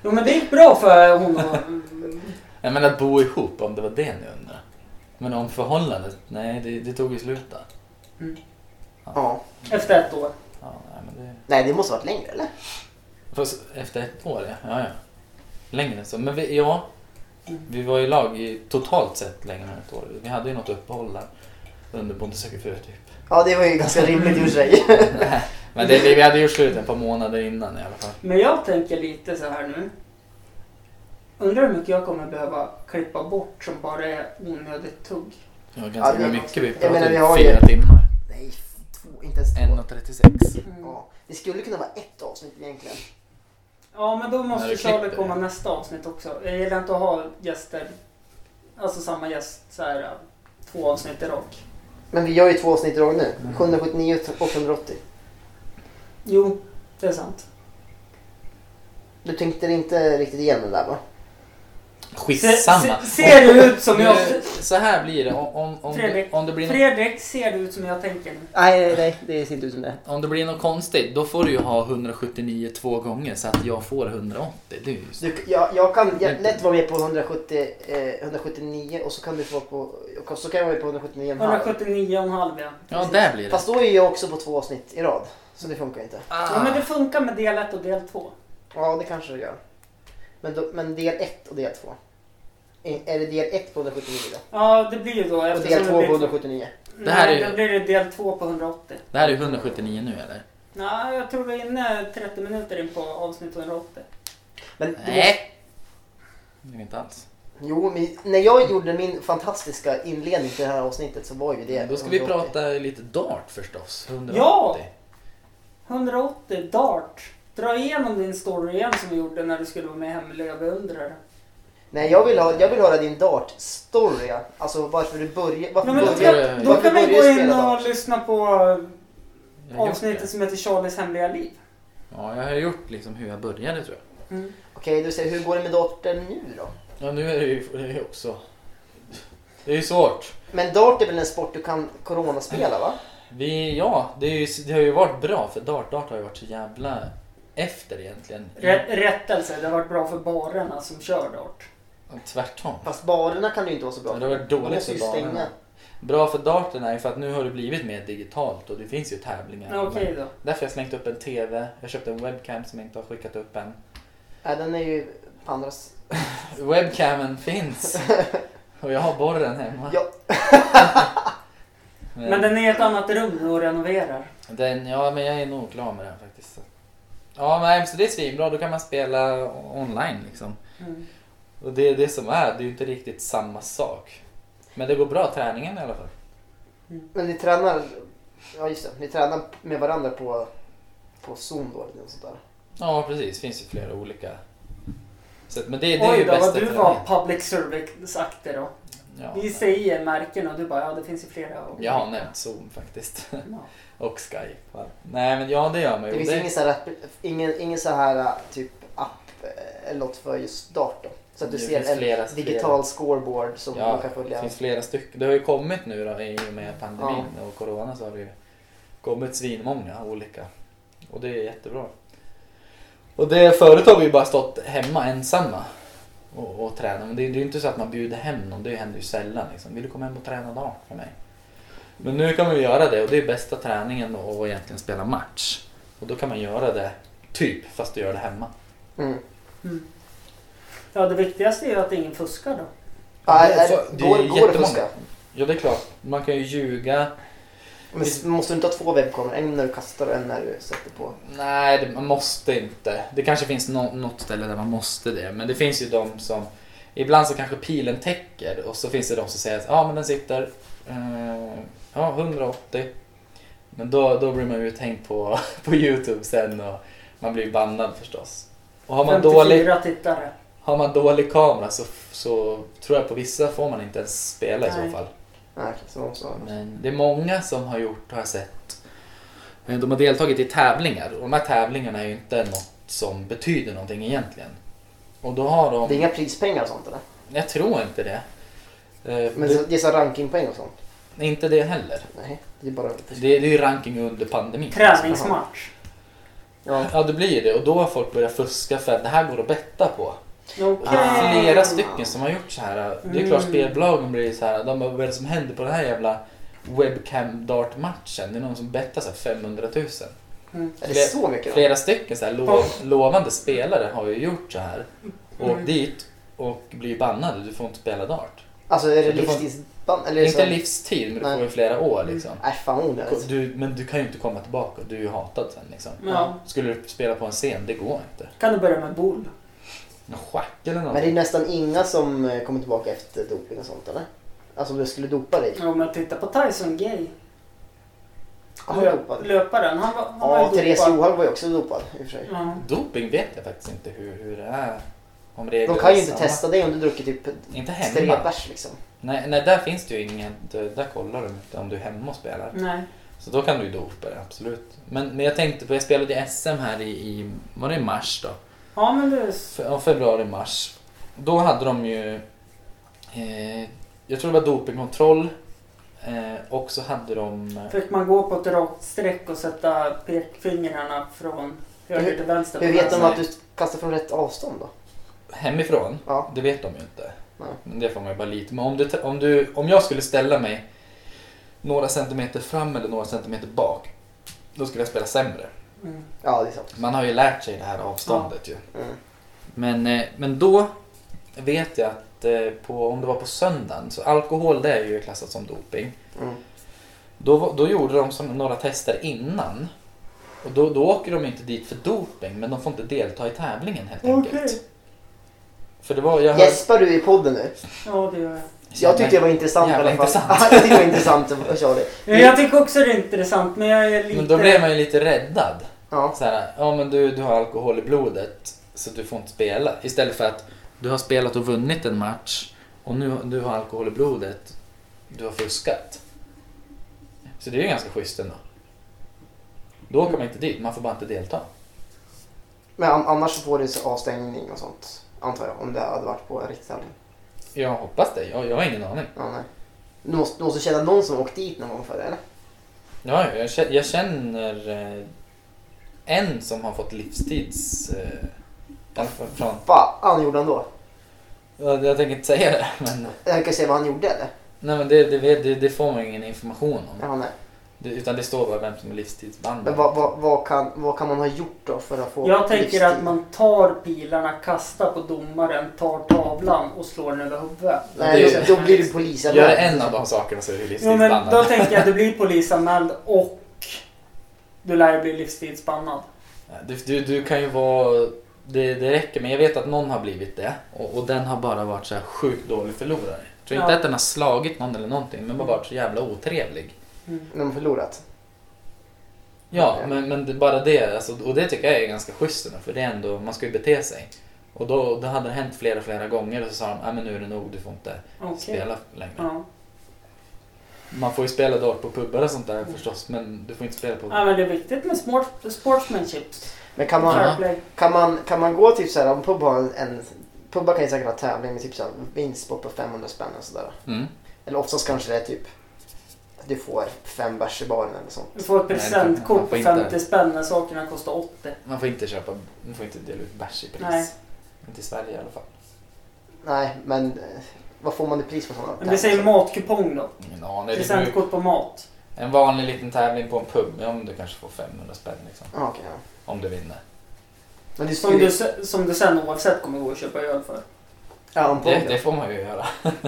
Jo men det gick bra för hon och... mm,
Jag menar att bo ihop om det var det ni undrar. Men om förhållandet, nej det, det tog ju slut där.
Ja.
Efter ett år.
Ja, nej, men det,
Nej, det måste ha varit längre eller?
fast efter ett år ja, ja. ja. Längre än så. Men vi, ja, vi var i lag i totalt sett längre än ett år. Vi hade ju något uppehåll där under Bonde söker fru typ.
Ja, det var ju ganska rimligt i och för sig.
Nej, men det, det, vi hade gjort slut ett par månader innan i alla fall.
Men jag tänker lite så här nu. Undrar hur mycket jag kommer behöva klippa bort som bara är onödigt tugg.
Ja, ganska
Ja, det-
mycket. Vi
jag
pratade
menar, vi
menar,
har
fyra
ju-
timmar.
Nej, f- två, inte ens två.
1.36.
Ja. Det skulle kunna vara ett avsnitt egentligen.
Ja men då måste
När du
Charlie
klipper.
komma nästa avsnitt också. Jag gillar inte att ha gäster, alltså samma gäst så här två avsnitt i rak.
Men vi gör ju två avsnitt i rad nu. 179 och 180.
Jo, det är sant.
Du tänkte inte riktigt igenom det där va?
Skitsamma.
Se- se- ser det ut som
Nu-
jag-
Så här blir det. Om, om, om, det,
Fredrik,
om, det blir något,
Fredrik ser det ut som jag tänker nu.
Nej, nej, nej. Det ser inte ut som det.
om det blir något konstigt, då får du ju ha 179 två gånger så att jag får 180. Det är ju så.
Du, jag, jag kan jag, lätt vara med på 170, eh, 179 och så kan du få vara på... Och så kan jag vara med på 179 och en halv.
179,5 ja.
Ja, där blir det.
Fast då är jag också på två avsnitt i rad. Så det funkar inte.
Ja,
Ah.
men det funkar med del 1 och del 2.
Ja, det kanske det gör. Men, då, men del 1 och del 2. Är är det del 1 på 179 då?
Ja, det blir ju då
Och del 2
det
på
blir...
179?
Det här är
Nej,
ju-
då blir det del 2 på 180.
Det här är 179 nu eller?
Nej, jag tror vi är inne 30 minuter in på avsnitt 180.
Men, du
Nej. Det är inte alls.
måste- Jo, men när jag gjorde min fantastiska inledning till det här avsnittet så var ju det...
Mm, Då ska vi
180.
prata lite dart förstås. 180.
Ja! 180 Dart. Dra igenom din story igen som vi gjorde när du skulle vara med i Hemliga beundrare.
Nej, jag vill, ha, jag vill höra din Dart-story. Alltså varför du började... Varför
Ja, men då
började...
kan, då
Varför
kan vi
började
gå
du
in
spela dart?
och lyssna på
Jag har gjort
avsnittet
det.
som heter Charlies hemliga liv.
Ja, jag har gjort liksom hur jag började tror jag.
Mm.
Okej, du säger hur går det med darten nu då?
Ja, nu är det ju det är ju också... Det är ju svårt.
Men dart är väl en sport du kan coronaspela va?
Vi, ja, det, är ju, det har ju varit bra för dart. Dart har ju varit så jävla efter egentligen.
Rä- Rättelse, det har varit bra för barerna som kör Dart.
Tvärtom.
Fast barerna kan du inte vara så bra
Det har varit
De
dåligt
måste ju
för barnen.
stänga.
Bra för darten är ju för att nu har det blivit mer digitalt och det finns ju tävlingar.
Ja, Okej då.
Därför har jag slängt upp en TV. Jag köpte en webcam som jag inte har skickat upp än.
Nej, den är ju på andras...
Webcamen finns! Och jag har borren hemma.
Ja.
men,
Men den är i ett annat rum nu och renoverar.
den, ja, men jag är nog klar med den faktiskt. Så. Ja, men så det är svinbra. Då kan man spela online liksom.
Mm.
Och det är det som är. Det är ju inte riktigt samma sak. Men det går bra träningen i alla fall.
Men ni tränar... Ja just det, ni tränar med varandra på, på Zoom då eller något sånt där.
Ja, precis. Det finns ju flera olika sätt. Men det, det är
Oj
ju
då,
bästa
vad du var
träningen.
public service-aktig då.
Ja,
Vi
nej.
säger märken och du bara ja, det finns ju flera. Och...
Jag har nämnt Zoom faktiskt.
Ja.
Och Skype. va? Nej men ja det gör man
Det
ju.
finns
Det-
eh, ingen så här, ingen, ingen så här äh, typ app äh, eller något för just dart då? Så att du
Det
ser
finns
en
flera
digital scoreboard som
Ja,
man kan
det
följa.
finns flera stycken. Det har ju kommit nu då i och med pandemin och corona så har det ju kommit svinmånga olika. Och det är jättebra. Och det förut har vi ju bara stått hemma ensamma och, och tränat. Men det, är- det är ju inte så att man bjuder hem någon. Det händer ju sällan. Liksom. Vill du komma hem och träna dart för mig? Men nu kan man ju göra det och det är bästa träningen och egentligen spela match. Och då kan man göra det typ fast du gör det hemma.
Mm.
Ja, det viktigaste är ju att ingen fuskar då.
Ja,
det är-
är,
det
det
är
går, går det att
jättemånga.
fuska?
Ja det är klart, man kan ju ljuga.
Men s- måste du inte ha två webbkameror? En när du kastar och en när du sätter på?
Nej, det, man måste inte. Det kanske finns nå- något ställe där man måste det. Men det finns ju de som... Ibland så kanske pilen täcker och så finns det de som säger att ah, men den sitter eh, ja, 180. Men då, då blir man ju uthängd på, på Youtube sen och man blir bannad förstås. Och har man,
54
dålig,
tittare.
har man dålig kamera så, så tror jag på vissa får man inte ens spela i
Nej.
så fall.
Nej, så måste man ha.
Men det är många som har gjort, har jag sett. eh, De har deltagit i tävlingar och de här tävlingarna är ju inte något som betyder någonting egentligen. Och då har
Det är
de...
inga prispengar och sånt eller?
Jag tror inte det. Eh,
Men
det
det, det är så rankingpoäng och sånt?
Inte det heller.
Nej, det är bara...
Det, det är ju ranking under pandemin.
Träningsmatch.
Ja.
Ja, det blir ju det. Och då har folk börjat fuska för att det här går att betta på. Och det är
Okej.
flera stycken som har gjort så här. Det är klart
Ah. Mm.
spelbolagen blir så här. De bara, vad är det som händer på den här jävla webcam dart-matchen? Det är någon som bettar så här 500 000.
Mm.
Är det så mycket då?
Flera stycken så här lo- lovande spelare har ju gjort så här. Åkt
Mm.
dit och blir bannade. Du får inte spela dart.
Alltså är det
Du får-
livstidsband? Eller är det
Inte
så...
livstid, men du
Nej. Mm.
får ju flera år liksom.
Nej, fan onödigt.
Du, men du kan ju inte komma tillbaka. Du är ju hatad sen liksom.
Mm.
Ja.
Skulle du spela på en scen, det går inte.
Kan du börja med boll?
Någon schack eller något.
Men det är nästan inga som eh, kommer tillbaka efter doping och sånt eller? Alltså om du skulle dopa dig?
Om jag tittar på Tyson Gay.
Han var dopad.
Löparen. Han var, han var
Ja,
ju
Therese
dopad. Mm.
Johaug var ju också dopad i och för sig.
Ja.
Doping vet jag faktiskt inte hur, hur det är. Om reglerna
De kan ju
är
inte
samma.
testa dig om du druckit typ
Inte
tre
hemma.
bärs liksom.
Nej, nej, där finns det ju inget. Där kollar de inte om du är hemma och spelar.
Nej.
Så då kan du ju dopa dig, absolut. Men, men jag tänkte på, jag spelade i SM här i, i var det i mars då?
Ja, men det...
Fe- ja, Februari, mars. Då hade de ju, eh, jag tror det var dopingkontroll eh, och så hade de, eh,
Fick man gå på ett rakt streck och sätta pekfingrarna från höger till vänster?
Hur vet de
Nej.
att du kastar från rätt avstånd då?
hemifrån,
Ja.
det vet de ju inte.
Nej.
Men det får man ju bara lite. Men om, du, t- om, du, om jag skulle ställa mig några centimeter fram eller några centimeter bak, då skulle jag spela sämre.
Mm.
Ja, det är sant.
Man har ju lärt sig det här avståndet ju.
Mm.
Men, eh, men då vet jag att eh, på, om det var på söndagen, så alkohol det är ju klassat som doping.
Mm.
Då, var- då gjorde de som några tester innan. Och då, då åker de inte dit för doping men de får inte delta i tävlingen helt enkelt.
Okej.
För det var, jag hör-
Gäspar du i podden nu?
Ja, det gör jag.
Jag tyckte det var intressant i alla
Jävla
fall.
intressant.
jag tyckte det var intressant att köra det.
Ja, Jag tycker också det är intressant, men jag är lite...
Men då blev man ju lite räddad.
Ja.
Så här, ja men du, du har alkohol i blodet så du får inte spela. Istället för att du har spelat och vunnit en match och nu du har alkohol i blodet, du har fuskat. Så det är ju ganska schysst ändå. Då åker man inte dit, man får bara inte delta.
Men an- annars så får du så avstängning och sånt. Antar jag. Om det hade varit på en riktig tävling.
Jag hoppas det, jag, jag har ingen aning.
Ja, nej. Du måste, du måste känna någon som åkt dit någon gång för det eller?
Ja, jag, kä- jag känner eh, en som har fått livstids... Eh, ja, fr- från,
Fan gjorde han då?
jag, jag tänker inte säga det, men,
Jag kan säga vad han gjorde eller?
nej, men det, det, vet- det, det får man ingen information om.
Ja, nej.
Det, utan det står bara vem som är livstidsband.
Men vad, vad, vad, kan, vad kan man ha gjort då för att få
Jag tänker att
livstid?
man tar pilarna, kastar på domaren, tar tavlan och slår den över huvudet.
Nej,
Det-
då, då blir du polis.
Gör det en av de sakerna så är du
Jo, men då
livstidsbannad.
tänker jag att du blir polisanmäld och du lär ju bli livstidsbannad.
Eh, Du, du, du kan ju vara... Det, det räcker, men jag vet att någon har blivit det och, och den har bara varit så här sjukt dålig förlorare. Jag tror inte
Ja.
att den har slagit någon eller någonting, men bara varit så jävla otrevlig.
När man förlorat.
Ja,
Ja.
men, men det, bara det. Alltså, och det tycker jag är ganska schysst ändå, för det är ändå, man ska ju bete sig. Och då, då hade det hänt flera, flera gånger och så sa de, nej men nu är det nog, du får inte
Okej.
spela längre.
Ja.
Man får ju spela dart på pubbar och sånt där förstås, men du får inte spela på...
ja, men det är viktigt med smart, sportsmanship.
Men kan man,
Fair play.
kan man, kan man gå typ så här om pub har en, en Pubbar kan ju säkert ha tävling med typ så här vinstsport på 500 spänn och sådär.
Mm.
Eller oftast kanske det är typ att du får fem bärs i baren eller sånt.
Du får ett
Nej, det får- man
presentkort
får
på
inte.
50 spänn när sakerna kostar 80.
Man får inte köpa, man får inte dela ut bärs i pris.
Nej.
Inte i Sverige i alla fall.
Nej, men eh, vad får man i pris på sådana?
Men vi säger matkupong då.
Ingen aning. Det beror-
Presentkort på mat.
En vanlig liten tävling på en pub, ja, men du kanske får 500 spänn liksom.
Ja, Ah, okej. ja.
Om du vinner.
Men det
Som
skulle
du,
ju...
se- som du sen oavsett kommer gå och köpa öl för.
Ja, om
Det,
det,
det får man ju göra.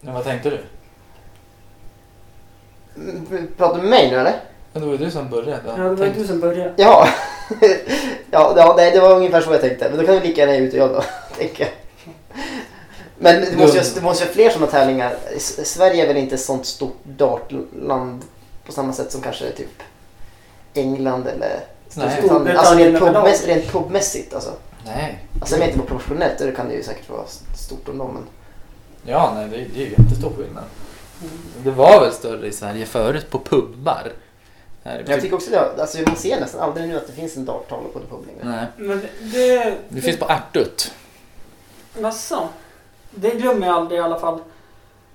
Men vad tänkte du?
Mm, Pratar du med mig nu eller?
Men det var ju du som började.
Ja, det var ju
Tänkte-
du som började.
Ja. ja, ja nej, det var ungefär så jag tänkte. Men då kan vi lika gärna ge ut och jag då, tänker jag. Men det måste, ju, det måste ju vara fler sådana tävlingar. S- Sverige är väl inte ett sånt stort dartland på samma sätt som kanske typ England eller
Nej.
Storbritannien. Alltså rent, pubmäss- rent pubmässigt alltså.
Nej.
Alltså jag vet inte vad professionellt är, det kan det ju säkert vara stort om dem. Men...
Ja, nej, det, det är ju jättestor skillnad.
Mm.
Det var väl större i Sverige förut på pubbar? Här,
Jag tycker också det, alltså man ser nästan aldrig nu att det finns en darttavla på en pub längre.
Nej.
Men det... det,
Det finns på Ärtut.
Jaså? Det glömmer jag aldrig i alla fall.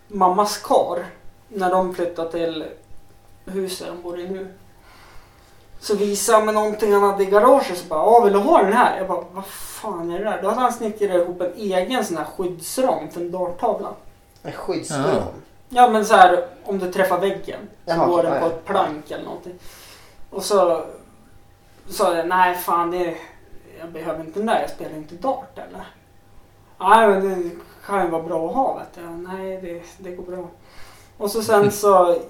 Mammas kar. När de flyttade till huset de bor i nu. Så visade han mig någonting han hade i garaget. Så bara, ja vill du ha den här? Jag bara, vad fan är det där? Då hade han snickrat ihop en egen sån här skyddsram för en darttavla.
En skyddsdom.
Ja.
Ja men så här om du träffar väggen så
Jaha,
går den
ja,
på
ja.
ett plank eller någonting. Och så sa jag nej fan det, jag behöver inte den där, jag spelar inte dart eller. Nej men det kan ju vara bra att ha vet du. Jag, Nej det, det går bra. Och så sen så,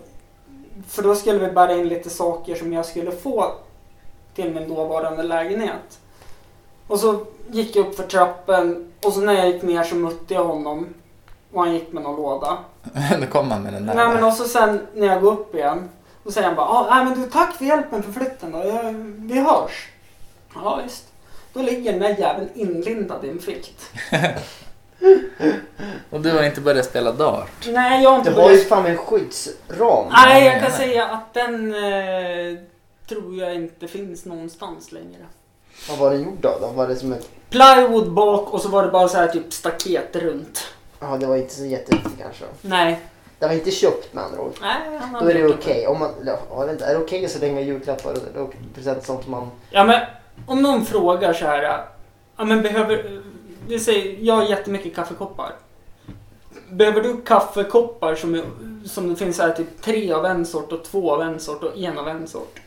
för då skulle vi bära in lite saker som jag skulle få till min dåvarande lägenhet. Och så gick jag upp för trappen och så när jag gick ner så mötte jag honom och han gick med någon låda.
Då kom man med den där.
Nej men och så sen när jag går upp igen. Då säger han bara, ah, nej men du tack för hjälpen för flytten då. Jag, vi hörs. Ja visst. Då ligger den där jäveln inlindad i en filt.
Och du har inte börjat spela dart?
Nej jag har
Du
inte
har ju
börjat.
fan en skyddsram.
Nej jag
Nej,
kan
nej.
säga att den eh, tror jag inte finns någonstans längre.
Vad var den gjord av då? Var det som ett...
Plywood bak och så var det bara så här typ staket runt.
Ja, det var inte så jättefint kanske.
Nej.
Det var inte köpt med andra ord.
nej han har
Då är det
gjort
okej. Om man... ja, jag vet inte, är det okej så länge julklappar och- och present sånt man...
Ja men om någon frågar så här. Ja men behöver... Vi säger, jag har jättemycket kaffekoppar. Behöver du kaffekoppar som, är, som det finns så här typ tre av en sort och två av en sort och en av en sort?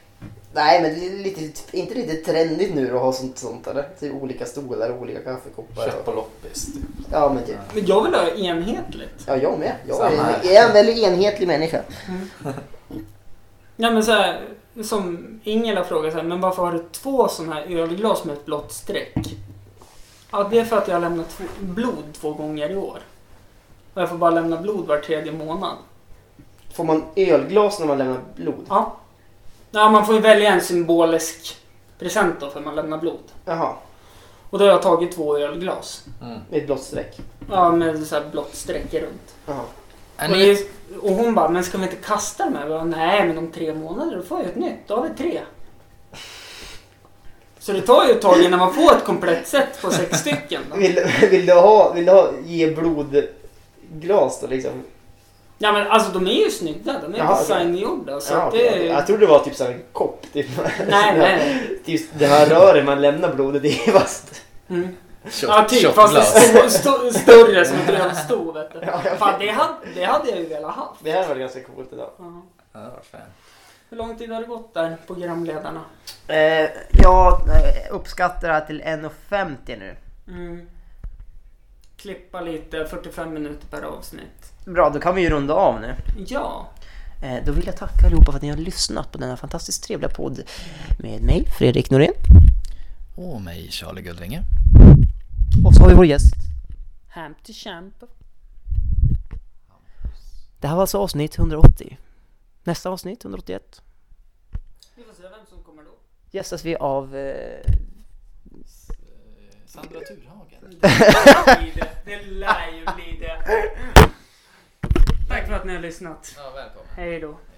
Nej, men det är lite, inte lite trendigt nu att ha sånt, sånt eller? Typ olika stolar och olika kaffekoppar.
Köp
Och...
på loppis. typ.
Ja, men typ.
Men jag vill ha enhetligt.
Ja, jag med. Jag
Samma
är,
här.
jag är en väldigt enhetlig människa.
Ja men så här, som Ingela frågar så här, men varför har du två sådana här ölglas med ett blått streck? Ja det är för att jag har lämnat två, blod två gånger i år. Och jag får bara lämna blod var tredje månad.
Får man ölglas när man lämnar blod?
Ja. ja. Man får ju välja en symbolisk present då för man lämnar blod.
Jaha,
Och då har jag tagit två ölglas.
Mm.
med ett blått streck.
Ja, med så här blått streck runt.
Jaha.
Är
Och,
ni,
det- och hon bara, men ska vi inte kasta dem här? Jag bara, Nej, men om tre månader då får jag ett nytt. Då har vi tre. Så det tar ju ett tag innan man får ett komplett set på sex stycken. Då.
Vill, vill, du ha, vill du ha, ge blodglas då liksom?
Ja men alltså de är ju snygga, de är
Jaha,
designgjorda. Så
Ja,
att det
okej.
är...
Jag trodde det var typ så här en kopp. Typ.
Nej, nej.
Typ det här röret man lämnar blodet i. Fast...
Mm.
Tjock-
Ja, typ. Fast det
tjockglas.
är sto- sto- större som ett ölstol vet du.
Ja, jag
Fan,
vet.
det hade, det hade jag ju velat ha.
Det här var ganska coolt idag.
Ja.
Ja, det var fan.
Hur lång tid har det gått där, programledarna?
Eh, jag eh, uppskattar det här till 1,50 nu.
Mm. Klippa lite, 45 minuter per avsnitt.
Bra, då kan vi ju runda av nu.
Ja.
Eh, då vill jag tacka allihopa för att ni har lyssnat på denna fantastiskt trevliga podd med mig, Fredrik Norén.
Och mig, Charlie Guldvinge.
Och så har vi vår gäst.
Hem till kämp.
Det här var alltså avsnitt 180. Nästa avsnitt, 181,
Vi får se vem som kommer då.
gästas vi av... Eh,
Sandra Thurhagen.
Det blir det. Det lär ju bli det. Tack för att ni har lyssnat.
Ja, välkommen.
Hej då.